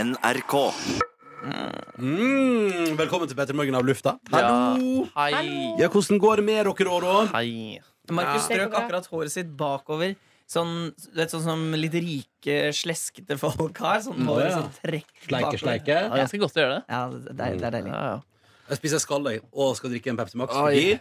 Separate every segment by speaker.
Speaker 1: NRK.
Speaker 2: Mm, velkommen til Petter Morgen av lufta. Hallo!
Speaker 3: Hei.
Speaker 2: Ja, hvordan går det med dere, Rårå?
Speaker 3: Hei. Markus
Speaker 4: Ja.
Speaker 3: strøk akkurat håret sitt bakover. Sånn, du vet, sånn som litt rike, sleskete folk har. Sånn hår
Speaker 2: ja.
Speaker 3: som trekker
Speaker 2: Sleike,
Speaker 3: bakover.
Speaker 2: sleike.
Speaker 5: Det er ganske godt å gjøre det.
Speaker 3: Ja, det er, det er deilig.
Speaker 5: Ja, ja.
Speaker 2: Jeg spiser skalle og skal drikke en Pepsi Max
Speaker 5: Oi.
Speaker 2: fordi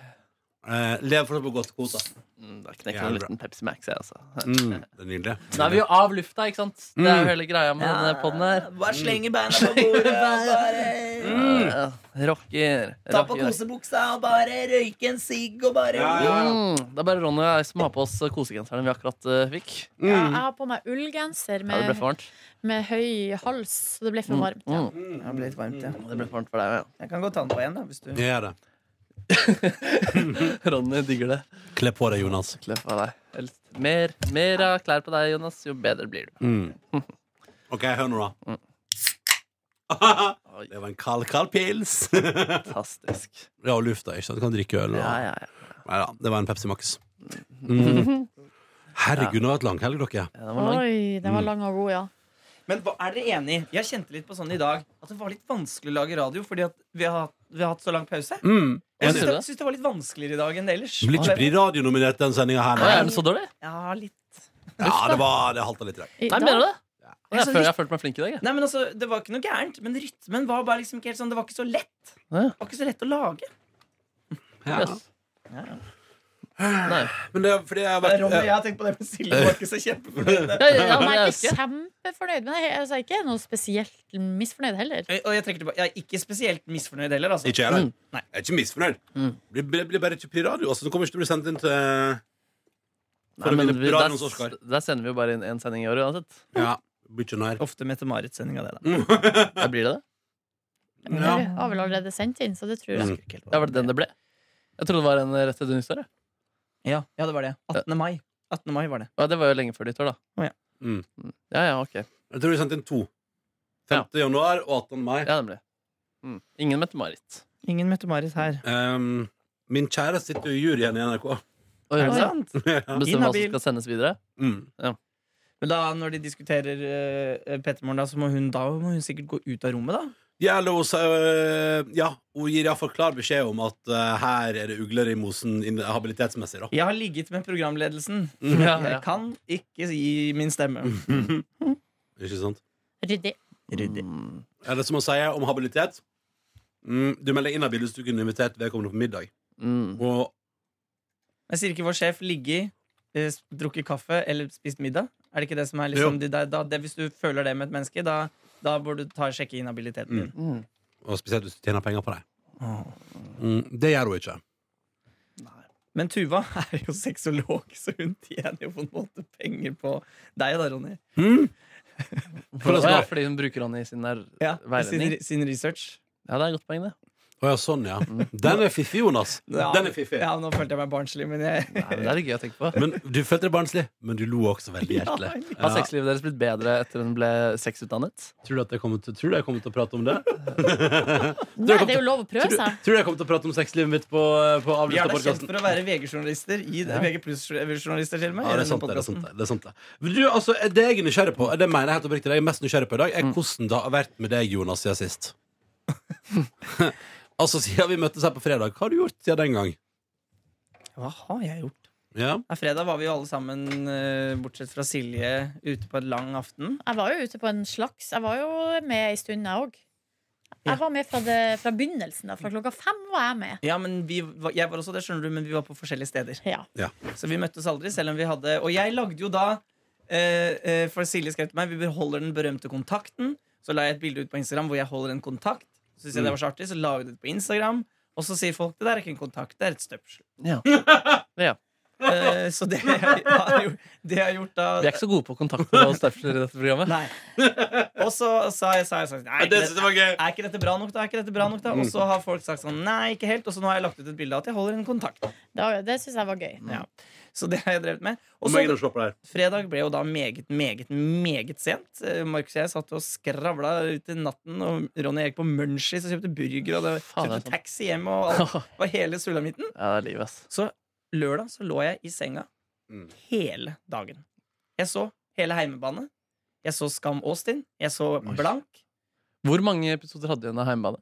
Speaker 2: eh, Lev fortsatt på godt kvote.
Speaker 5: Mm, Da knekker
Speaker 2: Ja,
Speaker 5: jeg en
Speaker 2: bra.
Speaker 5: liten Pepsi Max, jeg, altså. Mm.
Speaker 2: Mm, det er nydelig.
Speaker 5: Nå er vi jo av lufta, ikke sant? Det er jo hele greia med denne podden her.
Speaker 3: Mm. Bare slenger beina på bordet og bare
Speaker 5: Ja, Eh, Rocker.
Speaker 3: ta på
Speaker 5: rocker.
Speaker 3: kosebuksa og bare røyke en sigg og bare
Speaker 2: Ja, ja.
Speaker 5: Mm, Det er bare Ronny og jeg som har på oss kosegenserne vi akkurat eh, fikk.
Speaker 4: Ja, jeg har på meg ullgenser
Speaker 5: Ja, det ble
Speaker 4: med,
Speaker 5: for varmt.
Speaker 4: med høy hals, så det ble for varmt. Ja.
Speaker 5: Mm,
Speaker 3: Det ble litt varmt, ja.
Speaker 5: det ble for varmt for deg, ja.
Speaker 3: Jeg kan godt ta den på igjen, da. Hvis du...
Speaker 2: Jeg gjør det.
Speaker 5: Ronny digger det.
Speaker 2: Kle på deg, Jonas.
Speaker 5: Klem av deg. Helst. Mer, mer av klær på deg, Jonas, jo bedre blir du.
Speaker 2: Mm. OK, hør nå, da.
Speaker 5: Mm. Oi,
Speaker 2: Det var en kald, kald pils.
Speaker 5: fantastisk.
Speaker 2: Ja, og lufta, ikke sant? Du kan drikke øl. Og...
Speaker 5: Ja, ja, ja.
Speaker 2: Nei da, det var en Pepsi Max. Mm. Herregud, nå har jeg hatt langhelg, dere.
Speaker 5: Ja, Den var lang. Mm.
Speaker 4: Oi, den var lang og god, ja.
Speaker 3: Men hva- er dere enig? Jeg kjente litt på sånn i dag at det var litt vanskelig å lage radio fordi at vi har, hatt- vi har hatt så lang pause.
Speaker 2: Mm.
Speaker 3: Jeg
Speaker 5: Hva sier du?
Speaker 3: syns det var litt vanskeligere i dag enn det ellers.
Speaker 2: Du blir ikke bli radionominert den sendinga her,
Speaker 5: Oi, er
Speaker 2: nei.
Speaker 5: den så dårlig?
Speaker 3: Ja, litt
Speaker 2: Ja, det var Det halta litt i dag.
Speaker 4: I
Speaker 5: Nei, mener du
Speaker 4: dag-
Speaker 5: det? Å, Jeg føler jeg har følt meg flink i dag, jeg.
Speaker 3: Nei, men altså, Det var ikke noe gærent, men rytmen var bare liksom ikke helt sånn Det var ikke så lett.
Speaker 5: Ja.
Speaker 3: Det var ikke så lett å lage.
Speaker 2: Ja.
Speaker 5: Yes. Nei.
Speaker 2: Men det er fordi jeg har vært
Speaker 3: har tenkt på det med Silje. Var ikke så kjempefornøyd.
Speaker 5: Ja, ja, ja,
Speaker 4: Han
Speaker 5: men
Speaker 4: er
Speaker 5: jeg
Speaker 4: ikke
Speaker 5: husker.
Speaker 4: kjempefornøyd, men jeg, altså, jeg er ikke noe spesielt misfornøyd heller.
Speaker 3: Og jeg trekker tilbake. Jeg er ikke spesielt misfornøyd heller, altså.
Speaker 2: Ikke jeg, da.
Speaker 5: Mm.
Speaker 2: Nei, Jeg er ikke misfornøyd. Blir, blir, blir bare ikke på radio. Altså, du kommer ikke til å bli sendt inn til
Speaker 5: Nei,
Speaker 2: å
Speaker 5: men
Speaker 2: vinne
Speaker 5: vi,
Speaker 2: radioens Oscar.
Speaker 5: der, der sender vi jo bare inn én sending i året uansett.
Speaker 2: Ja. Blir ikke nær.
Speaker 3: Ofte Mette-Marit-sending av det, da.
Speaker 5: Ja, blir det det?
Speaker 4: Men
Speaker 2: Ja.
Speaker 4: Jeg har vel allerede sendt inn, så det tror jeg.
Speaker 2: Mm.
Speaker 3: Husker ikke helt hva
Speaker 5: Ja, var det den det ble? Jeg trodde det var en rett etter nyttår. jeg.
Speaker 3: Ja, ja, det var det. 18. mai. 18. mai var det.
Speaker 5: Ja, det var jo lenge før nyttår, da.
Speaker 2: Mm.
Speaker 5: Ja, ja, ok.
Speaker 2: Jeg tror vi sendte inn to. 5. januar og 18. mai.
Speaker 5: Ja, nemlig. Mm. Ingen Mette-Marit.
Speaker 3: Ingen Mette-Marit her.
Speaker 2: Um, min kjære sitter jo i juryen i NRK.
Speaker 5: Oi,
Speaker 3: Er det
Speaker 5: oi.
Speaker 3: sant?
Speaker 5: Bestemmer hva som
Speaker 3: Inhabil.
Speaker 5: skal sendes videre.
Speaker 2: Mm.
Speaker 3: Men da, når de diskuterer uh, Petermorgen, da, så må hun, da må hun sikkert gå ut av rommet, da?
Speaker 2: Yellow sa øh, Ja, hun gir iallfall klar beskjed om at øh, her er det ugler i mosen inn- habilitetsmessig, da.
Speaker 3: Jeg har ligget med programledelsen.
Speaker 5: Ja,
Speaker 3: Jeg
Speaker 5: ja.
Speaker 3: kan ikke gi min stemme.
Speaker 2: Ikke sant?
Speaker 4: Ryddig.
Speaker 3: Ryddig.
Speaker 5: Mm.
Speaker 2: Eller som hun sier om habilitet mm, Du melder inhabil hvis du kunne invitert vedkommende på middag.
Speaker 5: Mm.
Speaker 2: Og
Speaker 3: Jeg sier ikke vår sjef ligge, eh, s- drukket kaffe eller spist middag. Er det ikke det som er liksom,
Speaker 2: Jo.
Speaker 3: de, da, da, det, Hvis du føler det med et menneske, da, da bør du ta og sjekke inhabiliteten din.
Speaker 5: Mm.
Speaker 2: Og spesielt hvis du tjener penger på deg. Mm, det gjør hun ikke.
Speaker 3: Men Tuva er jo sexolog, så hun tjener jo på en måte penger på deg da, Ronny.
Speaker 2: Hm? For det
Speaker 5: Å,
Speaker 2: skal-
Speaker 5: ja, fordi hun bruker han i sin der
Speaker 3: Ja, i sin,
Speaker 5: veiledning.
Speaker 3: re- sin research.
Speaker 5: Ja, det er et godt poeng, det.
Speaker 2: Å ja, sånn, ja. Den er fiffig, Jonas.
Speaker 3: Ja.
Speaker 2: Den er fiffig.
Speaker 3: Ja, nå følte jeg meg barnslig, men jeg
Speaker 5: Nei, men det er litt gøy å tenke på.
Speaker 2: Men Du følte deg barnslig, men du lo også veldig hjertelig.
Speaker 5: Har
Speaker 2: Ja.
Speaker 5: sexlivet deres blitt bedre etter hun ble sexutdannet?
Speaker 2: Tror du at jeg kommer til, tror du jeg kommer til å prate om det?
Speaker 4: Nei, det er jo lov å prøve
Speaker 2: Tror du,
Speaker 4: seg.
Speaker 2: tror du jeg kommer til å prate om sexlivet mitt på, eh, på
Speaker 3: Vi er da kjent
Speaker 2: avlysta-podkasten?
Speaker 3: for å være VG-journalister. I det, VG journalister til og
Speaker 2: Ja,
Speaker 3: med. i
Speaker 2: det er
Speaker 3: denne
Speaker 2: sant, det. det, er
Speaker 3: podcasten.
Speaker 2: sant det, det, er sant det. Men du, altså, det jeg er nysgjerrig på, det mener jeg helt oppriktig, det jeg er mest nysgjerrig på i dag, er hvordan det har vært med deg, Jonas, siden sist. altså, siden vi møttes her på fredag, hva har du gjort siden den gang?
Speaker 3: Hva har jeg gjort?
Speaker 2: Ja.
Speaker 3: Ja, fredag var vi jo alle sammen, eh, bortsett fra Silje, ute på en lang aften.
Speaker 4: Jeg var jo ute på en slags Jeg var jo med ei stund, jeg òg. Jeg var med fra, det, fra begynnelsen. da Fra klokka fem var jeg med.
Speaker 3: Ja, men vi, var- jeg var også det, skjønner du, men vi var på forskjellige steder.
Speaker 4: Ja.
Speaker 3: Så vi møttes aldri, selv om vi hadde Og jeg lagde jo da eh, eh, For Silje skrev til meg vi beholder den berømte kontakten. Så la jeg et bilde ut på Instagram hvor jeg holder en kontakt. Så synes jeg
Speaker 5: Mm.
Speaker 3: det var så artig, så la jeg det ut på Instagram. Og så sier folk det der er ikke en kontakt, det er et støpsel.
Speaker 5: Ja.
Speaker 3: Eh, så det jeg har gjort, det jeg har gjort da
Speaker 5: Vi er ikke så gode på kontakter og støpsler i dette programmet.
Speaker 3: Nei. Og så sa jeg, sa jeg, sa jeg nei,
Speaker 2: Det synes jeg var Mm. gøy.
Speaker 3: er ikke dette bra nok, da? Er ikke dette bra nok da? Og så har folk sagt sånn nei, ikke helt. Og så nå har jeg lagt ut et bilde av at jeg holder en kontakt.
Speaker 4: Det, det syns jeg var gøy.
Speaker 3: Ja. Så det har jeg drevet med. Og
Speaker 2: Om jeg
Speaker 3: så
Speaker 2: gidder å slå på det her.
Speaker 3: fredag ble jo da meget, meget, meget sent. Eh, Markus og jeg satt og skravla ut til natten, og Ronny gikk på Munchies og kjøpte burger, og det
Speaker 2: sånn.
Speaker 5: Faen, det er
Speaker 3: kjøpte taxi hjem, og alt.
Speaker 5: Ja,
Speaker 3: Det var hele sulamitten.
Speaker 5: det er livet, ass.
Speaker 3: Så lørdag så lå jeg i senga
Speaker 2: Mm.
Speaker 3: hele dagen. Jeg så hele heimebane. Jeg så Skam Austin. Jeg så
Speaker 2: Oi.
Speaker 3: Blank.
Speaker 5: Hvor mange episoder hadde du av Heimebane?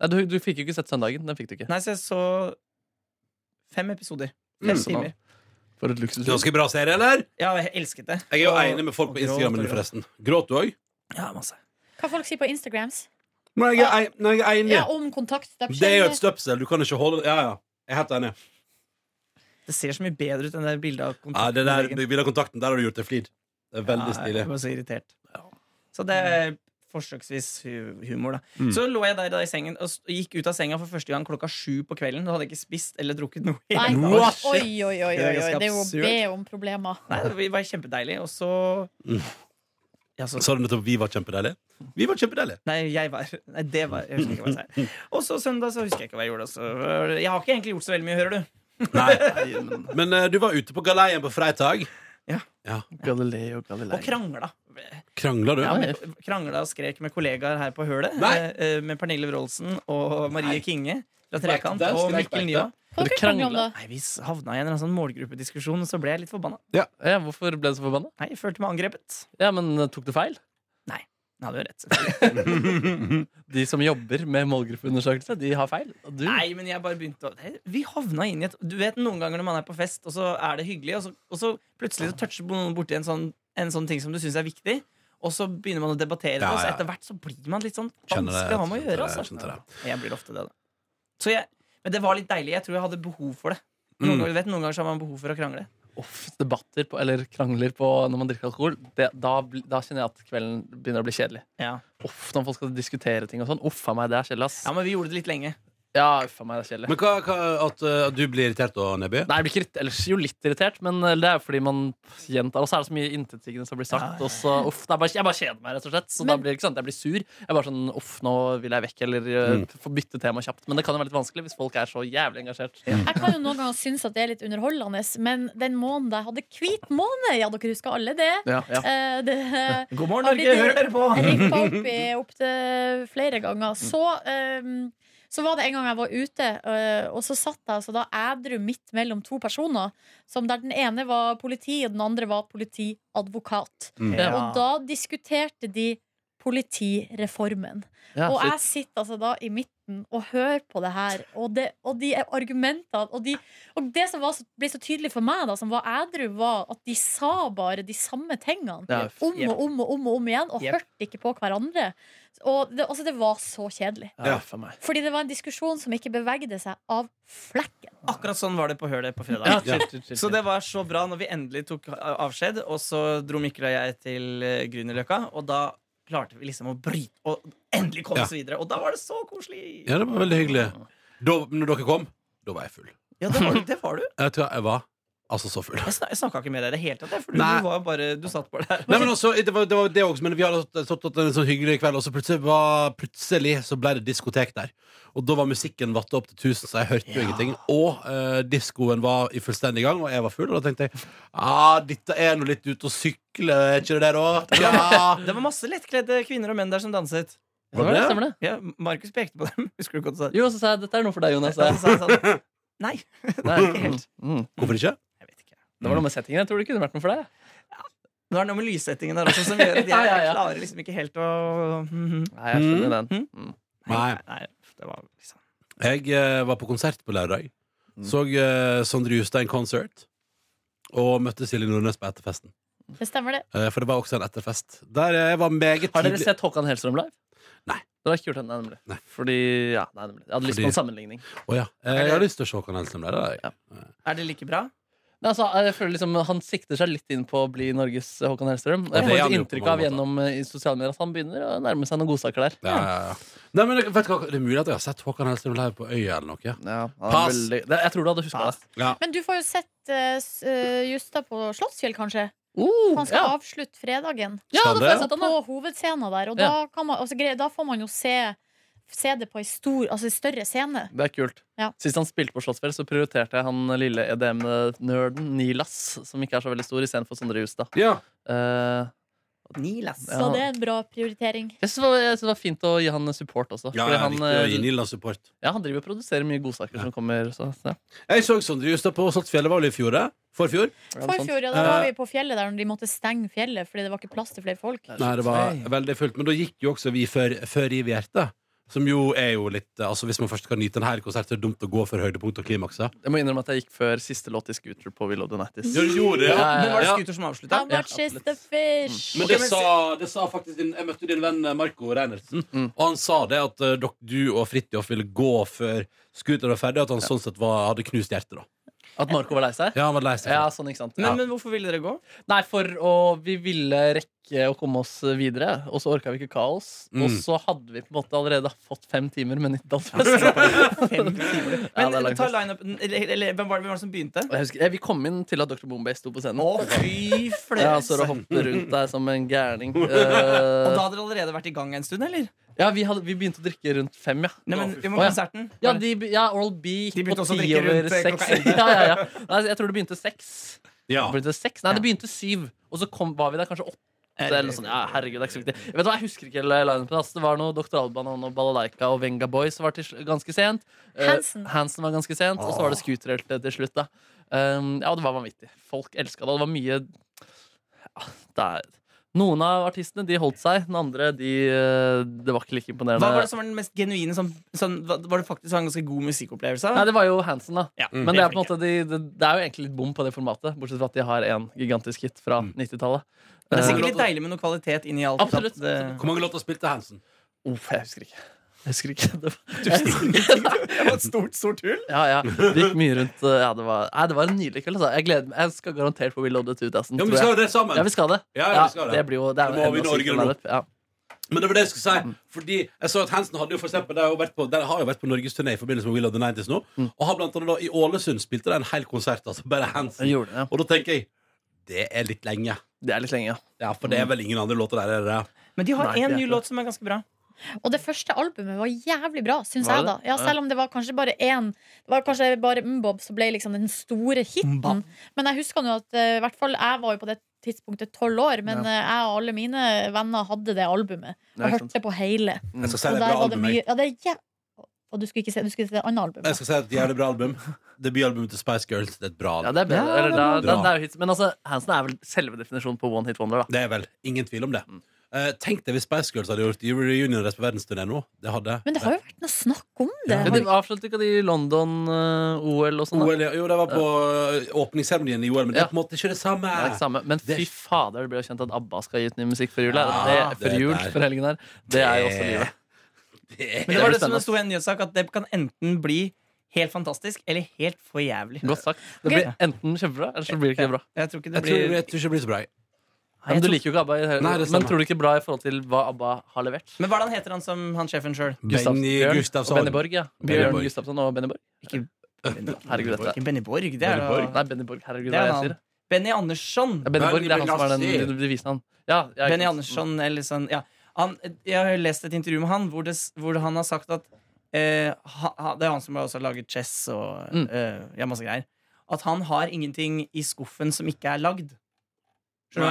Speaker 5: Nei, du, du fikk jo ikke sett søndagen. Den fikk du ikke.
Speaker 3: Nei, så jeg så fem episoder. Fem
Speaker 2: Mm.
Speaker 3: timer.
Speaker 5: For et luksus.
Speaker 2: Ganske bra serie, eller?
Speaker 3: Ja, jeg elsket det.
Speaker 2: Jeg er jo
Speaker 3: Og-
Speaker 2: enig med folk
Speaker 3: og
Speaker 2: på
Speaker 3: gråt og
Speaker 2: Instagram,
Speaker 3: gråt.
Speaker 2: forresten. Gråt du òg?
Speaker 3: Ja, masse.
Speaker 4: Hva folk sier på Instagrams?
Speaker 2: Nei, jeg er, nei, jeg er enig.
Speaker 4: Ja, om kontakt.
Speaker 2: det er jo et støpsel. Du kan ikke holde Ja, ja. Jeg er helt enig.
Speaker 3: Det ser så mye bedre ut enn det bildet av
Speaker 2: Ja, det der bildet av kontakten, der har du gjort deg flid. Det er veldig
Speaker 3: Ja,
Speaker 2: stilig.
Speaker 3: Jeg var så irritert. Så det er forsøksvis hu- humor, da.
Speaker 2: Mm.
Speaker 3: Så lå jeg der da i sengen og s- og gikk ut av senga for første gang klokka sju på kvelden. Da hadde jeg ikke spist eller drukket noe. i hele
Speaker 4: Nei,
Speaker 3: dag.
Speaker 4: oi,
Speaker 2: What?
Speaker 4: oi, oi, oi,
Speaker 3: Det er
Speaker 4: oi.
Speaker 3: ganske
Speaker 4: Det er jo å
Speaker 3: absurd.
Speaker 4: be om problemer.
Speaker 3: Nei, det var kjempedeilig. Og så
Speaker 2: Mm.
Speaker 3: ja, så,
Speaker 2: Sa du nettopp 'vi var kjempedeilige'? Vi var kjempedeilige.
Speaker 3: Nei, jeg var Nei, det var Jeg husker ikke hva jeg sa. Og så søndag så husker jeg ikke hva jeg gjorde. Altså. Jeg har ikke egentlig gjort så veldig mye, hører du.
Speaker 2: Nei. Men eh, du var ute på galeien på fredag.
Speaker 3: Ja.
Speaker 5: Galileo
Speaker 3: Og
Speaker 5: Galilei.
Speaker 3: krangla.
Speaker 2: Krangla du?
Speaker 5: Ja, men-
Speaker 3: Krangla og skrek med kollegaer her på hølet.
Speaker 2: Nei.
Speaker 3: eh, eh, Med Pernille Wroldsen og Marie Kinge fra
Speaker 2: Skrek
Speaker 3: Trekant.
Speaker 2: der,
Speaker 3: Og
Speaker 2: skrek
Speaker 3: Mikkel
Speaker 2: der.
Speaker 3: Niva.
Speaker 4: Hva
Speaker 5: Dere
Speaker 4: dere krangler om, da?
Speaker 3: Nei, Vi s- havna i en eller annen sånn målgruppediskusjon, og så ble jeg litt forbanna.
Speaker 5: Ja, hvorfor ble du så forbanna?
Speaker 3: Nei, jeg følte meg angrepet.
Speaker 5: Ja, men eh, tok du feil?
Speaker 3: Nei, du har rett. selvfølgelig.
Speaker 5: De som jobber med målgruppeundersøkelse, de har feil. Og du
Speaker 3: Nei, men jeg bare begynte å Nei, Vi havna inn i et Du vet noen ganger når man er på fest, og så er det hyggelig, og så, og så plutselig så toucher noen borti en sånn, en sånn ting som du syns er viktig, og så begynner man å debattere, det,
Speaker 2: Ja,
Speaker 3: og så
Speaker 2: ja.
Speaker 3: etter hvert så blir man litt sånn
Speaker 2: Kjenner det,
Speaker 3: vanskelig å ha med å
Speaker 2: kjenner
Speaker 3: gjøre.
Speaker 2: det,
Speaker 3: Altså.
Speaker 2: kjenner det.
Speaker 3: Jeg blir ofte det, da. Så jeg, men det var litt deilig. Jeg tror jeg hadde behov for det. Noen
Speaker 2: Mm.
Speaker 3: ganger, du vet, noen ganger så har man behov for å krangle.
Speaker 5: Uff, debatter på, eller krangler på når man drikker alkohol, det, da, bli- da kjenner jeg at kvelden begynner å bli kjedelig.
Speaker 3: Ja.
Speaker 5: Uff, når folk skal diskutere ting og sånn. Uff a meg, det er kjedelig, ass.
Speaker 3: ja, men vi gjorde det litt lenge.
Speaker 5: Ja, uff a meg, det er kjedelig.
Speaker 2: Men hva, hva at, eh, at du blir irritert da, Nebby?
Speaker 5: Nei, jeg blir ikke irrit- ellers jo litt irritert, men eh, det er jo fordi man gjentar. Og så er det så mye intetsigende som blir sagt. Og så, uff, det er bare, jeg bare kjeder meg, rett og slett. Så da
Speaker 4: Men-
Speaker 5: blir det ikke sant, jeg blir sur. Jeg er bare sånn, uff, nå vil jeg vekk, eller eh,
Speaker 2: Mm.
Speaker 5: få bytte tema kjapt. Men det kan jo være litt vanskelig hvis folk er så jævlig engasjert.
Speaker 4: Jeg kan jo noen ganger synes at det er litt underholdende, men den måneden jeg hadde hvit måned, ja, dere husker alle det.
Speaker 5: Ja, ja.
Speaker 4: Eh, det
Speaker 3: God morgen,
Speaker 4: Har
Speaker 3: Norge!
Speaker 4: blitt-
Speaker 3: Hører dere på?
Speaker 4: rippa opp i opptil flere ganger. Så, ehm, så var det en gang jeg var ute, eh, og så satt jeg altså da ædru midt mellom to personer. Som der den ene var politi, og den andre var politiadvokat.
Speaker 5: Ja.
Speaker 4: Og da diskuterte de politireformen.
Speaker 5: Ja,
Speaker 4: Og jeg
Speaker 5: shit.
Speaker 4: sitter altså da i midten og hører på det her, og, det, og de argumentene og, de, og det som var så, ble så tydelig for meg, da, som var ædru, var at de sa bare de samme tingene.
Speaker 5: Ja, f-
Speaker 4: Om
Speaker 3: Jep.
Speaker 4: og om og om og om igjen, og
Speaker 3: Jep.
Speaker 4: hørte ikke på hverandre. Og det, altså, det var så kjedelig.
Speaker 5: ja, uff a meg.
Speaker 4: Fordi det var en diskusjon som ikke bevegde seg av flekken.
Speaker 3: Akkurat sånn var det på Hølet på fredag.
Speaker 5: Ja, chill, chill, chill,
Speaker 3: Så
Speaker 5: chill.
Speaker 3: det var så bra når vi endelig tok avskjed, og så dro Mikkel og jeg til eh, Grünerløkka, og da klarte vi liksom å bryte og endelig komme
Speaker 2: Ja.
Speaker 3: oss videre. Og da var det så koselig!
Speaker 2: Ja, det var veldig hyggelig. Da når dere kom, da var jeg full.
Speaker 3: Ja, det var, du- det var du.
Speaker 2: Jeg tror jeg var altså så full.
Speaker 3: Jeg, snak, jeg snakka ikke med deg i det hele tatt, jeg, for du,
Speaker 2: Nei.
Speaker 3: du var bare Du satt bare der.
Speaker 2: Nei, men også, det var, det var det også, men vi hadde stått- stått hatt en sånn hyggelig kveld, og så plutselig, var, plutselig så ble det diskotek der. Og da var musikken vatta opp til tusen, så jeg hørte jo
Speaker 3: Ja.
Speaker 2: ingenting. Og eh, diskoen var i fullstendig gang, og jeg var full, og da tenkte jeg ah, dette er nå litt ute å sykle, er ikke det der òg? Ja.
Speaker 3: Det var masse lettkledde kvinner og menn der som danset.
Speaker 5: Stemmer det? Stemmer det?
Speaker 3: Ja, Markus pekte på dem. Husker du godt sa
Speaker 5: Jo, så sa jeg dette er noe for deg, Jonas.
Speaker 3: Så
Speaker 5: sa
Speaker 3: han
Speaker 5: jeg.
Speaker 3: sa sånn Nei.
Speaker 5: Nei,
Speaker 3: ikke helt.
Speaker 5: Mm. mm.
Speaker 2: Hvorfor ikke?
Speaker 3: Jeg vet ikke.
Speaker 5: Det var noe med settingen. Jeg tror det kunne vært noe for deg.
Speaker 3: Nå er det noe med lyssettingen der også som gjør at jeg,
Speaker 5: Ja, ja, ja.
Speaker 3: jeg klarer liksom ikke helt å
Speaker 5: Nei, jeg skjønner den. Mm.
Speaker 2: Nei.
Speaker 3: Nei, det var liksom
Speaker 2: Jeg eh, var på konsert på lørdag. Så eh, Sondre Justein Concert. Og møtte Silje Nordnes på etterfesten.
Speaker 4: Det stemmer, det.
Speaker 2: Eh, for det var også en etterfest. Der eh, jeg var meget
Speaker 5: Har dere
Speaker 2: tidlig
Speaker 5: sett Håkan Hellstrøm live?
Speaker 2: Nei.
Speaker 5: Dere har ikke gjort det? Nei, nemlig.
Speaker 2: Nei.
Speaker 5: Fordi, ja, nei, nemlig. Jeg hadde lyst
Speaker 2: Fordi-
Speaker 5: på en sammenligning.
Speaker 2: Å ja. Eh, Jeg har lyst til å se Håkan Hellstrøm der. da.
Speaker 3: Er det like bra?
Speaker 5: Men altså, jeg føler liksom Han sikter seg litt inn på å bli Norges Håkan Hellstrøm.
Speaker 2: Ja,
Speaker 5: Jeg
Speaker 2: det er
Speaker 5: får
Speaker 2: han
Speaker 5: et
Speaker 2: jo på
Speaker 5: inntrykk
Speaker 2: mange
Speaker 5: av
Speaker 2: måter.
Speaker 5: gjennom eh, i sosiale medier at han begynner å nærme seg noen godsaker der.
Speaker 2: Ja, ja, ja. Nei, men vet du hva, Det er mulig at jeg har sett Håkan Hellstrøm live på Øya eller noe.
Speaker 5: Ja, han er
Speaker 2: Pass.
Speaker 5: veldig, det, jeg tror du hadde huska
Speaker 3: Pass.
Speaker 5: det.
Speaker 4: Men du får jo sett eh, s- eh, Justa på Slottsfjell, kanskje?
Speaker 5: Uh,
Speaker 4: Han skal
Speaker 5: ja.
Speaker 4: avslutte fredagen.
Speaker 5: ja,
Speaker 2: Skal
Speaker 5: da får
Speaker 2: det?
Speaker 5: jeg sett han, da.
Speaker 4: på hovedscenen der. Og
Speaker 5: Ja.
Speaker 4: da, kan man, altså, gre- da får man jo se, se det på en stor, altså, en større scene.
Speaker 5: Det er kult.
Speaker 4: Ja.
Speaker 5: Sist han spilte på Slottsfjell, så prioriterte jeg han lille EDM-nerden Nilas, som ikke er så veldig stor, istedenfor Sondre Justad.
Speaker 2: Ja.
Speaker 5: Eh, og
Speaker 3: Neil, ass.
Speaker 5: Ja.
Speaker 4: Så det er en bra prioritering.
Speaker 5: Jeg syns det, var- jeg synes det var fint å gi han support også.
Speaker 2: Ja, ja,
Speaker 5: fordi han,
Speaker 2: viktig å gi
Speaker 5: eh,
Speaker 2: Nila support.
Speaker 5: ja, han driver og produserer mye godsaker som kommer. Så, ja,
Speaker 2: Jeg så Sondre Justad på Saltfjellet var vel i fjor? eh? Forfjor?
Speaker 5: Ja, noe sånt.
Speaker 4: Forfjor, ja, da var vi på fjellet der når de måtte stenge fjellet fordi det var ikke plass til flere folk.
Speaker 5: Nei.
Speaker 4: Ja,
Speaker 2: Nei, det var
Speaker 5: Nei.
Speaker 2: veldig fullt. Men da gikk jo også vi før, før Riv i hjertet. Som jo er jo litt eh, Altså Hvis man først kan nyte en her konsert, så er det dumt å gå for høydepunkt og klimaksa.
Speaker 5: Jeg må innrømme at jeg gikk før siste låt i Scooter på Willow Donatis.
Speaker 2: Du gjorde
Speaker 5: ja.
Speaker 3: Men var det Scooter som avslutta?
Speaker 4: How much
Speaker 5: Ja,
Speaker 4: is
Speaker 5: absolutt.
Speaker 4: the fish?
Speaker 2: Mm. Men
Speaker 3: Ok,
Speaker 2: det,
Speaker 3: men
Speaker 2: sa, det sa faktisk din, Jeg møtte din venn eh, Marco Reinertsen,
Speaker 5: Mm.
Speaker 2: og han sa det at eh, dok- du og Fridtjof ville gå før Scooter var ferdig, at han sånn sett var, hadde knust hjertet. da
Speaker 5: At Marco var lei seg?
Speaker 2: Ja, han var lei seg.
Speaker 5: Ja, sånn, ikke sant?
Speaker 3: Men, men hvorfor ville dere gå?
Speaker 5: Nei, for å, vi ville rekke å komme oss videre, og så orka vi ikke kaos.
Speaker 2: Mm.
Speaker 5: Og så hadde vi på en måte allerede fått fem timer med Nittedalsfest.
Speaker 3: Fem timer.
Speaker 5: Ja, det
Speaker 3: Men eh,
Speaker 5: er langt.
Speaker 3: ta line-upen eller, eller hvem var det, hvem var det som begynte?
Speaker 5: Jeg husker- eh, vi kom inn til at Dr. Bombay sto på scenen.
Speaker 3: Å, fy fløy.
Speaker 5: Ja, så det hoppet rundt der som en gærning.
Speaker 3: Og
Speaker 5: Eh,
Speaker 3: da hadde dere allerede vært i gang en stund, eller?
Speaker 5: ja, vi, hadde, vi begynte å drikke rundt fem, ja.
Speaker 3: Nei, men vi må
Speaker 5: Å, ja.
Speaker 3: konserten.
Speaker 5: Ja, de, be- ja Oral B
Speaker 3: De
Speaker 5: gikk
Speaker 3: begynte
Speaker 5: på
Speaker 3: også å
Speaker 5: ti
Speaker 3: drikke
Speaker 5: over
Speaker 3: rundt, eh,
Speaker 5: seks.
Speaker 3: klokka
Speaker 5: Ja, ja, ja. Nei, jeg tror det begynte seks.
Speaker 2: Ja.
Speaker 5: Det Begynte seks. Nei, det begynte syv, og så kom, var vi der kanskje åtte. Eller noe sånt. Ja, herregud, det er ikke så viktig. Vet du hva, Jeg husker ikke hele line-upen. ass. Det var noe Dr. Alban og noe Balalaika og Venga Boys var til, sl- ganske sent. Eh,
Speaker 4: Hansen.
Speaker 5: Hansen var ganske sent, og så var det Scooterhelt til slutt. da um, Ja, det var vanvittig. Folk elska det. og Det var mye ja, det er, Noen av artistene de holdt seg, den andre de, eh, det var ikke like imponerende.
Speaker 3: Hva var det som var den mest genuine sånn, sånn, hva- Var det faktisk en ganske god musikkopplevelse?
Speaker 5: Nei, det var jo Hansen, da.
Speaker 3: Ja,
Speaker 5: Men det er, på en måte,
Speaker 3: flinke.
Speaker 5: de, det, det er jo egentlig litt bom på det formatet, bortsett fra at de har en gigantisk hit fra 90-tallet.
Speaker 3: Men det er sikkert
Speaker 5: Eh,
Speaker 3: litt deilig med noe kvalitet inn i alt.
Speaker 5: Absolutt.
Speaker 3: at Det,
Speaker 2: Hvor mange låter spilte Hansen?
Speaker 5: uff, jeg husker ikke. Jeg husker ikke. Det var,
Speaker 3: det var et stort, stort hull.
Speaker 5: ja, ja. Det gikk mye rundt. eh, Ja, det, var, nei, det var en nydelig kveld. Altså. Jeg gleder meg. Jeg skal garantert på We Loaded 2000.
Speaker 2: Ja, men vi
Speaker 5: tror
Speaker 2: skal
Speaker 5: jeg.
Speaker 2: jo det sammen!
Speaker 5: Ja, vi skal det.
Speaker 2: Ja, ja, vi skal det.
Speaker 5: det blir jo, det er
Speaker 2: Da må
Speaker 5: jo
Speaker 2: vi
Speaker 5: enda
Speaker 2: Norge
Speaker 5: sykere
Speaker 2: nå.
Speaker 5: lineup, ja.
Speaker 2: Men det var det jeg skulle
Speaker 5: Mm.
Speaker 2: si. Fordi jeg så at Hansen hadde jo for eksempel, de har jo vært på, de har jo vært på norgesturné i forbindelse med Will of the 90s nå.
Speaker 5: Mm.
Speaker 2: Og har blant annet da i Ålesund spilte de en hel konsert. Altså bare
Speaker 5: Jeg
Speaker 2: Hansen.
Speaker 5: gjorde det, ja.
Speaker 2: Og da tenker jeg det er litt lenge.
Speaker 5: Det er litt lenge, ja.
Speaker 2: Ja, For
Speaker 5: Mm.
Speaker 2: det er vel ingen andre låter der? Er det? det?
Speaker 3: Men de har
Speaker 5: Nei, det
Speaker 3: én
Speaker 5: er
Speaker 3: ny
Speaker 5: ikke
Speaker 3: låt som er ganske bra.
Speaker 4: Og det første albumet var jævlig bra, syns
Speaker 5: Var
Speaker 4: jeg,
Speaker 5: det
Speaker 4: da.
Speaker 5: det? Ja.
Speaker 4: Ja, selv om det var kanskje bare én. Det var kanskje bare Mbob som ble liksom den store hiten. Men jeg husker nå at eh, i hvert fall jeg var jo på det tidspunktet tolv år, men eh, jeg og alle mine venner hadde det albumet. Og
Speaker 5: Ja, ikke sant.
Speaker 4: hørte på hele.
Speaker 2: Jeg skal si det
Speaker 4: Og
Speaker 2: er
Speaker 4: der
Speaker 2: bra
Speaker 4: var det
Speaker 2: album.
Speaker 4: mye
Speaker 2: Jeg.
Speaker 4: ja, det er jæv... Og du skulle ikke se, du skulle se det andre albumet.
Speaker 2: jeg skal si at det er et bra album. Debutalbumet til Spice Girls. Det er et bra
Speaker 5: Ja,
Speaker 2: album.
Speaker 5: det er bedre.
Speaker 3: Ja,
Speaker 5: Eller,
Speaker 3: det
Speaker 5: da,
Speaker 3: er bra.
Speaker 5: da, det er jo hits. Men altså, Hansen er vel selve definisjonen på one hit wonder, da.
Speaker 2: Det er vel ingen tvil om det. Eh, tenk deg hvis Spice Girls hadde gjort reunion deres på verdensturné nå. Det hadde
Speaker 4: Men det har jo vært noe snakk om det.
Speaker 5: Men de avsluttet ikke de London-OL og sånn? da?
Speaker 2: Eh, OL, ja. Jo, det var på eh, åpningsseremonien i OL, men det
Speaker 5: Ja.
Speaker 2: er på en måte ikke det samme.
Speaker 5: Det er ikke samme. Men
Speaker 2: Det-
Speaker 5: fy fader, det ble jo kjent at ABBA skal gi ut ny musikk før jul.
Speaker 2: Ja,
Speaker 5: det,
Speaker 2: det
Speaker 5: før jul,
Speaker 2: der.
Speaker 5: for helgen her. Det er jo også livet.
Speaker 3: Men det
Speaker 5: Det
Speaker 3: var det
Speaker 5: blir
Speaker 3: som det sto i en nyhetssak, at det kan enten bli helt fantastisk eller helt for jævlig.
Speaker 5: Godt sagt. Det blir enten kjempebra, eller så blir det ikke bra.
Speaker 3: Jeg tror ikke det
Speaker 2: Jeg tror,
Speaker 3: blir
Speaker 2: jeg tror ikke det blir så bra. jeg.
Speaker 5: Men du liker jo ikke ABBA, i det hele-
Speaker 2: Nei, det stemmer.
Speaker 5: men tror du ikke bra i forhold til hva ABBA har levert?
Speaker 3: Men hva er det han heter, han som han sjefen sjøl?
Speaker 5: Gustav-
Speaker 2: Benny
Speaker 5: Bjørn
Speaker 2: Gustavsson.
Speaker 5: Og Benny Borg, ja.
Speaker 2: Benny
Speaker 5: Bjørn
Speaker 2: Borg.
Speaker 5: Gustavsson og Benny Borg.
Speaker 3: Ikke
Speaker 5: Herregud, dette er-
Speaker 3: Benny Borg. Det er
Speaker 2: Benny Borg.
Speaker 3: da-
Speaker 5: Nei, Benny Borg. Herregud,
Speaker 3: Det er
Speaker 5: hva jeg
Speaker 3: han.
Speaker 5: sier.
Speaker 3: Benny Andersson.
Speaker 5: Ja, Benny Borg, det er han som er
Speaker 2: Benny
Speaker 5: den devisen. Ja, ja, ikke
Speaker 3: Benny
Speaker 5: sant.
Speaker 3: Andersson eller sånn ja. han, Jeg har lest et intervju med han hvor, det, s- hvor han har sagt at eh, ha, ha- Det er han som har også laget chess og
Speaker 5: Mm.
Speaker 3: eh, ja, masse greier. At han har ingenting i skuffen som ikke er lagd. Skjønner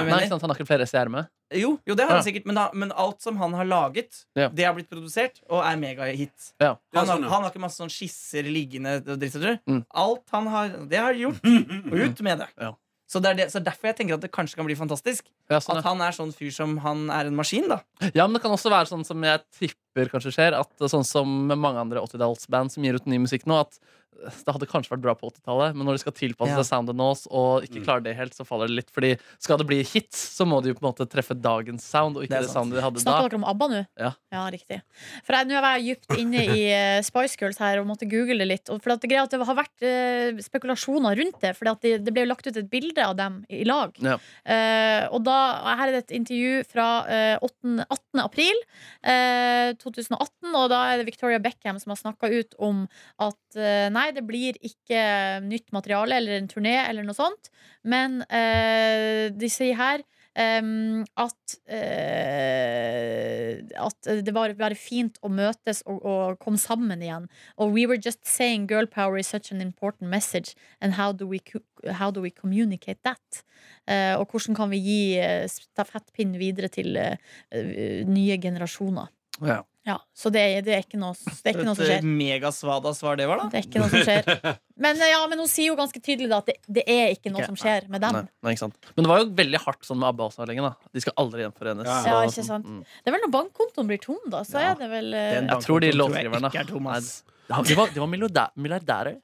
Speaker 5: Nei,
Speaker 3: du hva jeg
Speaker 5: ikke
Speaker 3: mener?
Speaker 5: sant, han har ikke flere S i ermet.
Speaker 3: Jo, jo, det har han
Speaker 5: Ja.
Speaker 3: sikkert, men, da, men alt som han har laget,
Speaker 5: Ja.
Speaker 3: det har blitt produsert og er megahit.
Speaker 5: Ja.
Speaker 2: Ja,
Speaker 3: Han, har-
Speaker 2: sånn, ja.
Speaker 3: han har ikke masse sånn skisser liggende og dritt og dritt.
Speaker 5: Mm.
Speaker 3: Alt han har Det har gjort. Og ut med det.
Speaker 5: Ja.
Speaker 3: Så det er det, så derfor jeg tenker at det kanskje kan bli fantastisk.
Speaker 5: Ja, sånn, ja.
Speaker 3: At han er sånn fyr som han er en maskin, da.
Speaker 5: Ja, men det kan også være sånn som jeg tipper kanskje skjer, at sånn som med mange andre 80-tallsband som gir ut ny musikk nå, at det hadde kanskje vært bra på 80-tallet, men når de skal tilpasse
Speaker 3: Ja.
Speaker 5: seg soundet nå og
Speaker 2: Mm.
Speaker 5: ikke klarer det helt, så faller det litt. Fordi skal det bli hits, så må de jo på en måte treffe dagens sound, og
Speaker 3: Det er
Speaker 5: ikke det,
Speaker 3: sant.
Speaker 5: soundet de hadde da.
Speaker 4: Snakker dere om ABBA nå?
Speaker 5: Ja.
Speaker 4: riktig. For jeg- Nå var jeg dypt inne i eh, Spice Girls her og måtte google det litt. Og for at det, er greit at det har vært eh, spekulasjoner rundt det, for det, det ble jo lagt ut et bilde av dem i lag.
Speaker 5: Ja.
Speaker 4: Eh, og da, Her er det et intervju fra eh, 8, 18. april eh, 2018, og da er det Victoria Beckham som har snakka ut om at eh, nei, det blir ikke nytt materiale eller en turné eller noe sånt, men eh, de sier her Ehm, at eh, at eh, det var bare fint å møtes og, og komme sammen igjen. Og we were just saying girl power is such an important message, and how do we, co- how do we communicate that? Eh, og hvordan kan vi gi eh, stafettpinnen videre til eh, eh, nye generasjoner?
Speaker 5: Ja.
Speaker 4: Ja, så det, er- det, er ikke noe, det er ikke noe som skjer.
Speaker 3: Et megasvada svar det var, da.
Speaker 4: Det er ikke noe som skjer. Men, eh, ja, men hun sier jo ganske tydelig da, at det, det er ikke noe
Speaker 5: Ikke-
Speaker 4: som skjer med dem.
Speaker 5: Nei, nei, ikke sant. Men det var jo veldig hardt sånn med ABBA også lenge. da De skal aldri gjenforenes.
Speaker 2: Ja.
Speaker 5: og
Speaker 4: Ja, ikke
Speaker 5: sånn.
Speaker 4: sant.
Speaker 5: Mm.
Speaker 4: Det er vel når bankkontoen blir tom, da. Så
Speaker 5: Ja.
Speaker 4: er det vel
Speaker 3: Den
Speaker 4: eh,
Speaker 5: Jeg tror de
Speaker 3: bankkontoen tror jeg
Speaker 5: låtskriverne
Speaker 3: ikke er tom, ass.
Speaker 5: Nei, De var, de var milliardæ- milliardærer.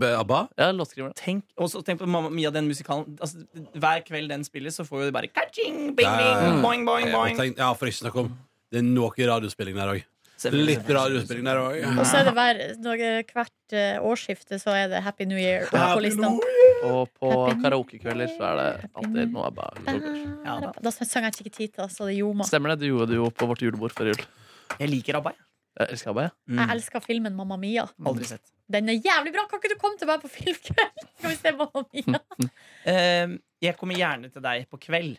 Speaker 2: B- Abba?
Speaker 5: Ja, låtskriverne.
Speaker 3: Tenk, og så tenk på Mamma Mia, den musikalen. Altså, hver kveld den spilles, så får jo det bare ka-ching, bing,
Speaker 2: Ja,
Speaker 3: bing,
Speaker 2: ja.
Speaker 3: boing, boing,
Speaker 2: Ja, og
Speaker 3: boing.
Speaker 2: tenk- ja, for ikke å snakke om Det er noe radiospilling der òg.
Speaker 3: Selvfølgelig.
Speaker 2: Litt radiospilling der òg.
Speaker 4: Og så er Mm. det hver, når- hvert eh, årsskifte så er det Happy New Year oppe på lista.
Speaker 5: Og på
Speaker 4: Happy
Speaker 5: karaokekvelder så er det
Speaker 4: Happy
Speaker 5: alltid noe ABBA.
Speaker 3: Ja, da.
Speaker 4: Ah, Da, da sang jeg Chiquitita, så det gjorde meg.
Speaker 5: Stemmer det? Du gjorde det jo på vårt julebord før jul.
Speaker 3: Jeg liker ABBA, jeg. Mm.
Speaker 5: Jeg elsker ABBA, jeg.
Speaker 4: Jeg elsker filmen Mamma Mia.
Speaker 3: Aldri sett.
Speaker 4: Den er jævlig bra! Kan ikke du komme til meg på filmkveld? Skal vi se Mamma Mia?
Speaker 3: Eh, jeg kommer gjerne til deg på kveld.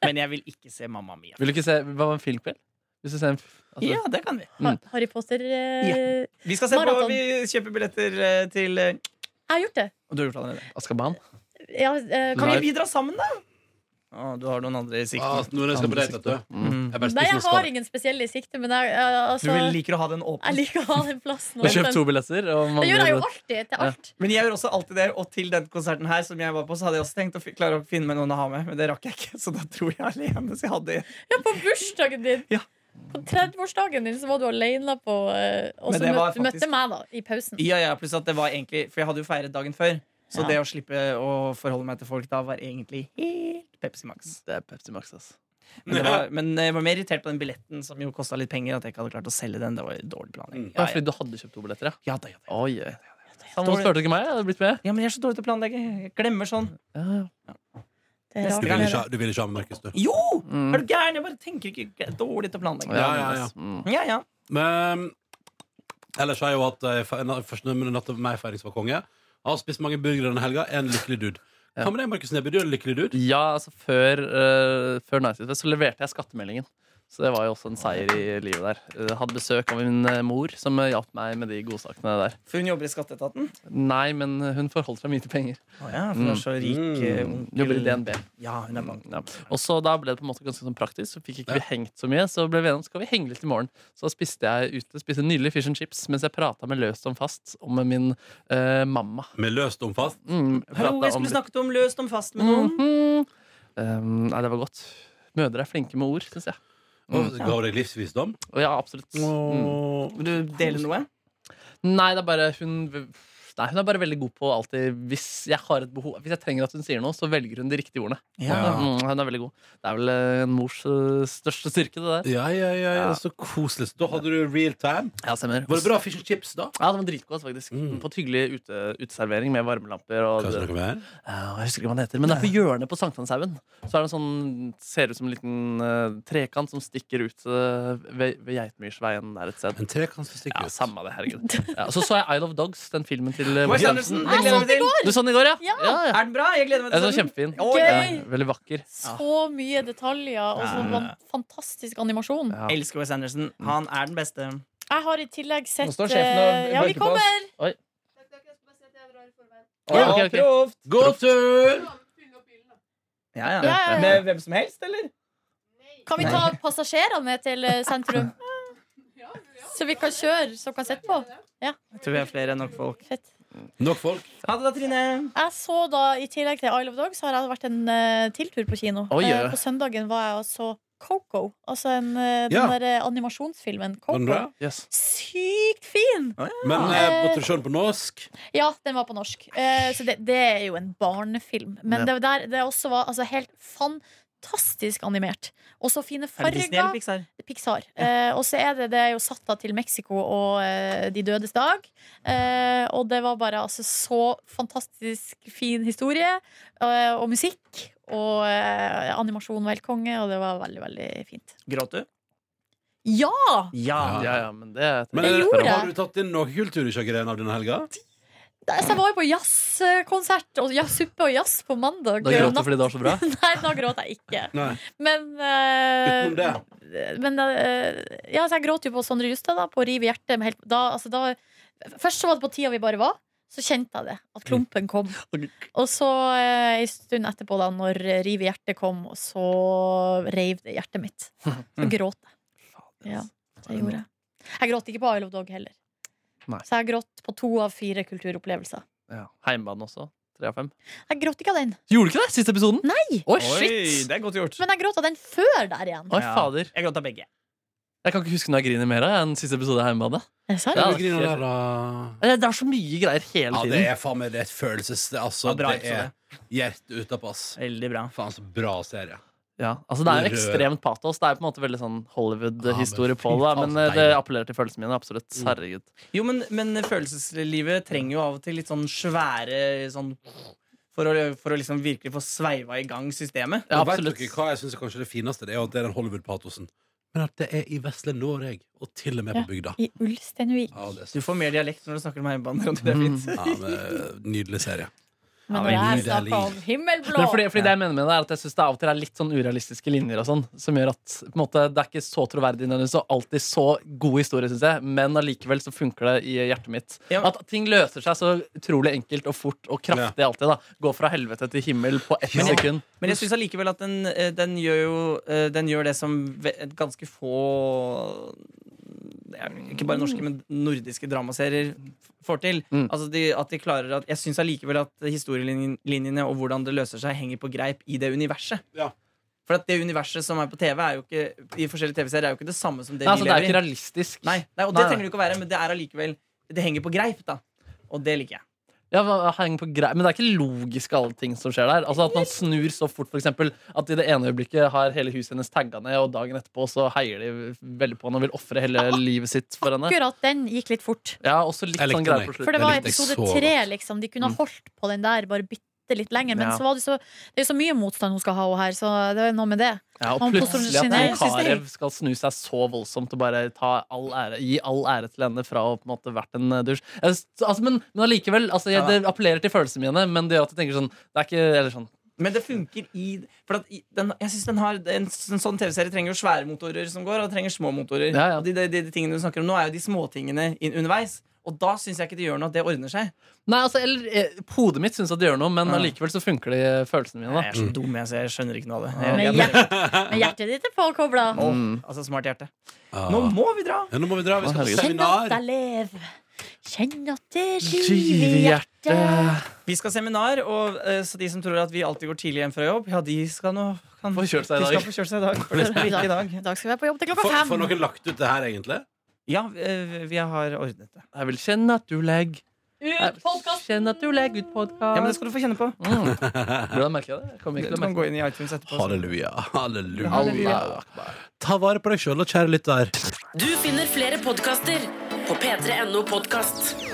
Speaker 3: Men jeg vil ikke se Mamma Mia.
Speaker 5: Vil du ikke se Hva var en filmkveld? Hvis du ser en f- altså,
Speaker 3: Ja, det kan vi.
Speaker 4: Ha- Harry Potter eh,
Speaker 3: Ja. Vi skal se
Speaker 4: Maraton.
Speaker 3: på, vi kjøper billetter eh, til eh,
Speaker 4: Jeg har gjort det.
Speaker 3: Du har gjort det allerede.
Speaker 5: Azkaban?
Speaker 4: Ja, eh,
Speaker 3: Kan
Speaker 4: kan vi,
Speaker 3: ikke vi dra sammen, da? Å, du har noen andre i sikte.
Speaker 2: Nordnes Ah, skal på date, vet du.
Speaker 3: Mm.
Speaker 2: Jeg bare
Speaker 4: nei,
Speaker 2: spiser
Speaker 4: jeg
Speaker 2: med
Speaker 4: har
Speaker 2: skall.
Speaker 4: ingen spesielle i sikte, men jeg, eh,
Speaker 3: Du
Speaker 4: altså,
Speaker 3: vil- liker å ha den
Speaker 4: jeg
Speaker 3: åpen.
Speaker 4: liker å ha den plassen.
Speaker 5: Du har
Speaker 4: åpen.
Speaker 5: kjøpt to billetter? Og
Speaker 4: Det gjør jeg jo
Speaker 5: mange-
Speaker 4: alltid til alt.
Speaker 3: Men jeg gjør også alltid det, og til den konserten her som jeg var på, så hadde jeg også tenkt å fi- klare å finne meg noen å ha med, men det rakk jeg ikke, så da dro jeg alene. Så jeg hadde
Speaker 4: Ja, på bursdagen din.
Speaker 3: Ja.
Speaker 4: På 30-årsdagen din så var du alene på eh, Og
Speaker 3: Men
Speaker 4: så
Speaker 3: det var
Speaker 4: møtte, du møtte
Speaker 3: faktisk-
Speaker 4: meg, da, i pausen.
Speaker 3: Ja, ja, pluss at det var egentlig For jeg hadde jo feiret dagen før, så
Speaker 4: Ja.
Speaker 3: det å slippe å forholde meg til folk da var egentlig helt Pepsi Max.
Speaker 5: Det er Pepsi Max, ass.
Speaker 3: Men, det var, men jeg var mer irritert på den billetten som jo kosta litt penger. At jeg ikke hadde klart å selge den. Det var dårlig planlegging.
Speaker 5: Ja,
Speaker 3: Ja, ja.
Speaker 5: Fordi du hadde kjøpt to billetter, ja?
Speaker 3: Ja, da, ja, da.
Speaker 5: Oi, oi. Faen, Hvorfor spurte du ikke meg? Jeg hadde blitt med.
Speaker 3: ja, men jeg er så dårlig til å planlegge. Jeg glemmer sånn.
Speaker 5: Ja, ja.
Speaker 4: Det er
Speaker 3: Neste
Speaker 2: Du
Speaker 4: rart.
Speaker 2: vil
Speaker 4: med
Speaker 2: ikke
Speaker 4: det.
Speaker 2: ha- du vil ikke ha med Markus, du.
Speaker 3: Jo! Er du gæren? Jeg bare tenker ikke jeg er dårlig til å planlegge.
Speaker 5: Mm. Ja,
Speaker 3: Ja,
Speaker 2: Ja, ja, ja.
Speaker 5: Mm.
Speaker 3: ja.
Speaker 2: Men ellers har jeg jo hatt eh, fe- na- første natt av meg-feiring som var konge. Jeg har spist mange burgere denne helga. En lykkelig dude.
Speaker 5: Ja.
Speaker 2: Hva med deg, Markus Neby? Du er en lykkelig dude.
Speaker 5: ja altså før, uh, før Nice Guys Fest så leverte jeg skattemeldingen. Så det var jo også en seier i livet der. Eh, hadde besøk av min eh, mor, som eh, hjalp meg med de godsakene der.
Speaker 3: For hun jobber i Skatteetaten.
Speaker 5: Nei, men eh, hun forholdt seg mye til penger.
Speaker 3: Å ja, for hun er så rik eh, onkel.
Speaker 5: Mm. Jobber i DNB.
Speaker 3: Ja, hun er bank.
Speaker 5: Ja. Og så da ble det på en måte ganske sånn praktisk. Så fikk ikke vi hengt så mye. Så ble vi enige om skal vi henge litt i morgen. Så spiste jeg ute, spiste nydelig fish and chips mens jeg prata med løst om fast om min eh, mamma.
Speaker 2: Med løst om fast.
Speaker 5: Mm,
Speaker 3: Hallo,
Speaker 5: pratet
Speaker 3: jeg
Speaker 5: om
Speaker 3: skulle
Speaker 5: litt-
Speaker 3: snakket om løst om fast med noen.
Speaker 5: Mhm. Um, nei, det var godt. Mødre er flinke med ord, syns jeg.
Speaker 2: Og ga hun deg livsvisdom.
Speaker 5: Og ja, absolutt. Mm.
Speaker 3: Vil du dele noe?
Speaker 5: Nei, det er bare hun Nei, hun er bare veldig god på alltid Hvis jeg har et behov Hvis jeg trenger at hun sier noe, så velger hun de riktige ordene.
Speaker 2: Ja.
Speaker 5: Mm, hun er veldig god. Det er vel eh, en mors eh, største styrke, det der.
Speaker 2: Ja, ja, ja, ja.
Speaker 5: Ja.
Speaker 2: Så koselig. Så Da hadde du real time.
Speaker 5: Ja, stemmer.
Speaker 2: Var det bra fish and chips da?
Speaker 5: Ja, det var dritgodt, faktisk.
Speaker 2: Mm.
Speaker 5: På et hyggelig ute, uteservering med varmelamper. Og,
Speaker 2: Kanskje noe mer?
Speaker 5: Ja, jeg husker ikke hva den heter, men det er på hjørnet på Sankthanshaugen. Så er det en sånn, ser ut som en liten eh, trekant som stikker ut eh, ved, ved Geitmyrsveien der et sted.
Speaker 2: En trekant som stikker
Speaker 5: Ja,
Speaker 2: ut.
Speaker 5: samme det, herregud. Ja, og så så jeg Isle of Dogs, den filmen til eh,
Speaker 3: Wes
Speaker 5: Wes Anderson.
Speaker 3: Anderson,
Speaker 4: Jeg
Speaker 3: jeg gleder meg til.
Speaker 5: Du så den i går, ja?
Speaker 4: Ja.
Speaker 5: ja.
Speaker 3: Er den bra? Jeg gleder meg
Speaker 5: Jeg
Speaker 3: til
Speaker 5: så
Speaker 3: den.
Speaker 5: den kjempefin.
Speaker 3: Å,
Speaker 4: Gøy.
Speaker 5: Ja,
Speaker 3: jeg
Speaker 5: veldig vakker.
Speaker 4: Så mye detaljer, og så
Speaker 3: Ja.
Speaker 4: van- fantastisk animasjon.
Speaker 5: Ja.
Speaker 3: Elsker Wes Anderson.
Speaker 5: Mm.
Speaker 3: Han er den beste.
Speaker 4: Jeg har i tillegg sett
Speaker 5: Nå står sjefen og
Speaker 4: eh, Ja, vi
Speaker 5: banker på oss.
Speaker 4: kommer!
Speaker 5: Ja, ok, ok.
Speaker 3: proft.
Speaker 2: God tur!
Speaker 3: Ja, ja.
Speaker 4: Ja, ja, ja.
Speaker 3: Med hvem som helst, eller?
Speaker 4: Kan vi ta passasjerene med til eh, sentrum? Så vi kan kjøre, så kan sitte på.
Speaker 3: Jeg tror vi er flere enn nok folk.
Speaker 4: Fett.
Speaker 2: Nok folk.
Speaker 3: Ha det da, Trine.
Speaker 4: Jeg så da, I tillegg til Isle of Dogs har jeg vært en eh, tiltur på kino.
Speaker 5: Oi,
Speaker 4: Eh,
Speaker 5: ja.
Speaker 4: på søndagen var jeg og så Coco. Altså en, eh, den
Speaker 2: Ja.
Speaker 4: der eh, animasjonsfilmen
Speaker 2: Var den bra?
Speaker 4: Coco.
Speaker 5: Yes.
Speaker 4: Sykt fin!
Speaker 2: Men eh, måtte du se den på norsk?
Speaker 4: Ja, den var på norsk. Eh, så det, det er jo en barnefilm. Men det, var der, det også var altså, helt fantastisk animert. Og så fine
Speaker 3: Er det Disney eller
Speaker 4: farger.
Speaker 3: Pixar?
Speaker 4: Pixar. Eh, og så er det, det er jo satt da til Mexico og eh, De dødes dag. Eh, og det var bare altså, så fantastisk fin historie. eh, og musikk. Og eh, animasjon var helt konge, og det var veldig, veldig fint.
Speaker 3: Gråt du?
Speaker 4: Ja!
Speaker 3: Ja.
Speaker 5: Ja, ja, men det
Speaker 2: Men
Speaker 4: Jeg
Speaker 2: eh,
Speaker 4: gjorde
Speaker 2: har
Speaker 4: det.
Speaker 2: du tatt inn noe kultur i sjakkeren av denne helga?
Speaker 4: Da- Så jeg var jo på jazzkonsert og jazz, suppe og jazz på mandag.
Speaker 5: Da gråt du
Speaker 4: natt.
Speaker 5: fordi det var så bra?
Speaker 4: Nei, da gråt jeg ikke.
Speaker 2: Nei.
Speaker 4: Men eh,
Speaker 2: Utenom det.
Speaker 4: men da, eh, ja, så jeg gråt jo på Sondre Justad, da, på riv i hjertet. med helt- Da, altså, da, først så var det på tida vi bare var. Så kjente jeg det, at klumpen kom.
Speaker 5: Mm.
Speaker 4: Og så eh, en stund etterpå, da når eh, riv i hjertet kom, og så reiv det hjertet mitt. Så gråt jeg. Ja,
Speaker 5: altså.
Speaker 4: det gjorde jeg. Jeg gråt ikke på I Love Dog heller.
Speaker 1: Nei.
Speaker 4: Så jeg gråt på to av fire kulturopplevelser.
Speaker 5: Heimbane også. Tre av fem.
Speaker 4: Jeg gråt ikke av den,
Speaker 5: Gjorde du ikke det? Siste episoden?
Speaker 4: Nei.
Speaker 5: Oi,
Speaker 3: Oi,
Speaker 5: shit!
Speaker 3: det er godt gjort.
Speaker 4: men jeg gråt av den før der igjen.
Speaker 5: Oi,
Speaker 3: Ja.
Speaker 5: fader.
Speaker 3: Jeg gråt av begge.
Speaker 5: Jeg kan ikke huske når jeg griner mer av enn siste episode av Heimbane.
Speaker 4: Er det sant?
Speaker 5: Ja,
Speaker 2: Ja,
Speaker 5: det er
Speaker 2: griner
Speaker 5: helt-
Speaker 2: der, da.
Speaker 5: Eh, Det er så mye greier hele
Speaker 2: Ja, det
Speaker 5: tiden.
Speaker 2: er faen meg det er et følelses... det- Altså,
Speaker 3: Ja, bra
Speaker 2: det er hjertet utapå, ass.
Speaker 3: Veldig bra.
Speaker 2: Faen, så bra serie.
Speaker 5: Ja, altså Det er jo
Speaker 2: Rød.
Speaker 5: ekstremt patos. Det er på en måte veldig sånn
Speaker 2: Ja,
Speaker 5: Hollywood-historie
Speaker 2: men fy
Speaker 5: på det.
Speaker 2: faen,
Speaker 5: Men
Speaker 2: så
Speaker 5: eh, det
Speaker 2: deilig.
Speaker 5: appellerer til følelsene mine. Absolutt. Herregud.
Speaker 3: Jo, men, men følelseslivet trenger jo av og til litt sånn svære sånn For å, for å liksom virkelig få sveiva i gang systemet.
Speaker 5: Ja,
Speaker 2: Og vet
Speaker 5: absolutt.
Speaker 2: dere hva jeg synes er kanskje det fineste? Det er jo at det er den Hollywood-patosen. Men at det er i vesle Norge, og til og med
Speaker 4: Ja.
Speaker 2: på bygda.
Speaker 4: I Ulsteinvik.
Speaker 2: Ja, det er
Speaker 3: Du
Speaker 2: så
Speaker 3: får mer dialekt når du snakker om heimebaner. og det er fint.
Speaker 2: ja, men, Nydelig serie.
Speaker 4: Men
Speaker 2: Ja,
Speaker 4: når jeg
Speaker 2: nydelig
Speaker 4: snakker
Speaker 2: liv.
Speaker 4: om himmelblå
Speaker 5: Men fordi, fordi det jeg mener med det er at jeg synes det av og til er litt sånn urealistiske linjer og sånn, som gjør at på en måte, det er ikke så troverdig nødvendigvis og alltid så god historie, synes jeg, men allikevel så funker det i hjertet mitt.
Speaker 3: Ja.
Speaker 5: At ting løser seg så utrolig enkelt og fort og kraftig alltid. da Gå fra helvete til himmel på ett
Speaker 3: Ja.
Speaker 5: sekund.
Speaker 3: Men jeg syns allikevel at den, eh, den gjør jo eh, Den gjør det som ve- et ganske få det er Ikke bare norske, men nordiske dramaserier f- får til.
Speaker 5: Mm.
Speaker 3: Altså de, at de klarer at Jeg syns allikevel at historielinjene og hvordan det løser seg, henger på greip i det universet.
Speaker 2: Ja.
Speaker 3: For at det universet som er på TV, er jo ikke, i forskjellige TV-serier er jo ikke det samme som det
Speaker 5: Nei, altså,
Speaker 3: vi
Speaker 5: det er
Speaker 3: lever
Speaker 5: ikke
Speaker 3: i.
Speaker 5: realistisk.
Speaker 3: Nei, nei, og det
Speaker 5: Nei, nei.
Speaker 3: trenger det ikke å være, men det er allikevel Det henger på greip, da. Og det liker jeg.
Speaker 5: Ja, hva- heng på grei. Men det er ikke logisk alle ting som skjer der. Altså At man snur så fort, for eksempel At i det ene øyeblikket har hele huset hennes tagga ned, og dagen etterpå så heier de veldig på henne og vil ofre hele livet sitt for henne.
Speaker 4: Akkurat den gikk litt fort.
Speaker 5: Ja, også litt
Speaker 2: Jeg likte
Speaker 5: sånn greier
Speaker 2: den, jeg.
Speaker 5: på
Speaker 4: For det
Speaker 5: slutten.
Speaker 2: Den
Speaker 4: var
Speaker 2: likte jeg så
Speaker 4: episode
Speaker 2: godt.
Speaker 4: tre, liksom. De kunne ha holdt på den der bare bitte litt lenger. Men
Speaker 5: Ja.
Speaker 4: så var det, så, det er jo så mye motstand hun skal ha, hun her, så det er noe med det.
Speaker 5: Ja, og
Speaker 4: Han
Speaker 5: plutselig
Speaker 4: posisjonerer
Speaker 5: at
Speaker 4: seg. Jeg synes det er
Speaker 5: Karev skal snu seg så voldsomt og bare ta all ære, gi all ære til henne fra å på en måte vært en eh, dusj. Jeg synes- Altså, men, men allikevel, altså, jeg,
Speaker 3: Ja, da.
Speaker 5: det appellerer til følelsene mine, men det gjør at jeg tenker sånn Det er ikke eller sånn
Speaker 3: Men det funker i For at i- den, jeg synes den har En, s- en sånn TV-serie trenger jo svære motorer som går, og den trenger små motorer.
Speaker 5: Ja, ja.
Speaker 3: Og de, de, de, tingene du snakker om nå, er jo de småtingene in- underveis. Og da syns jeg ikke det gjør noe at det ordner seg.
Speaker 5: Nei, altså, eller eh, Hodet mitt syns at det gjør noe, men
Speaker 3: Ja.
Speaker 5: allikevel så funker det i følelsene mine.
Speaker 3: Nei,
Speaker 5: da
Speaker 3: jeg er så dum, jeg, så jeg skjønner ikke noe av det. Jeg,
Speaker 4: Med,
Speaker 3: jeg,
Speaker 4: hjert, med hjertet ditt er påkobla.
Speaker 3: Åh,
Speaker 5: Mm.
Speaker 3: altså, smart hjerte.
Speaker 2: Ja.
Speaker 3: Nå må vi dra!
Speaker 2: Ja, nå må vi dra. Vi skal på
Speaker 5: Herregud.
Speaker 4: Kjenn at
Speaker 2: seminar.
Speaker 4: jeg lever. Kjenn at det
Speaker 5: Giv
Speaker 4: river
Speaker 5: i
Speaker 4: i hjertet.
Speaker 5: hjertet.
Speaker 3: Vi skal ha seminar, og eh, så de som tror at vi alltid går tidlig hjem fra jobb, ja, de skal nå kan,
Speaker 5: Få kjørt seg i
Speaker 3: de
Speaker 5: dag.
Speaker 3: skal få kjørt seg i dag. For det skal virke i dag.
Speaker 4: I dag skal vi være på jobb til klokka
Speaker 2: Får får
Speaker 4: fem.
Speaker 2: noen lagt ut det her, egentlig?
Speaker 3: Ja, eh, vi har ordnet det.
Speaker 5: Jeg vil kjenne at du legger
Speaker 4: Ut podcast.
Speaker 5: Kjenne at du legger ut podkast.
Speaker 3: Ja, men det skal du få kjenne på.
Speaker 5: mm. Hvordan merker jeg det? Jeg kommer
Speaker 3: Du
Speaker 5: ikke til å
Speaker 3: kan
Speaker 5: merke det.
Speaker 3: gå inn i iTunes etterpå. så-
Speaker 2: Halleluja. Halleluja.
Speaker 5: Allahu akbar.
Speaker 2: Ta vare på deg sjøl, kjære lytter.
Speaker 6: Du finner flere podkaster på p3.no podkast.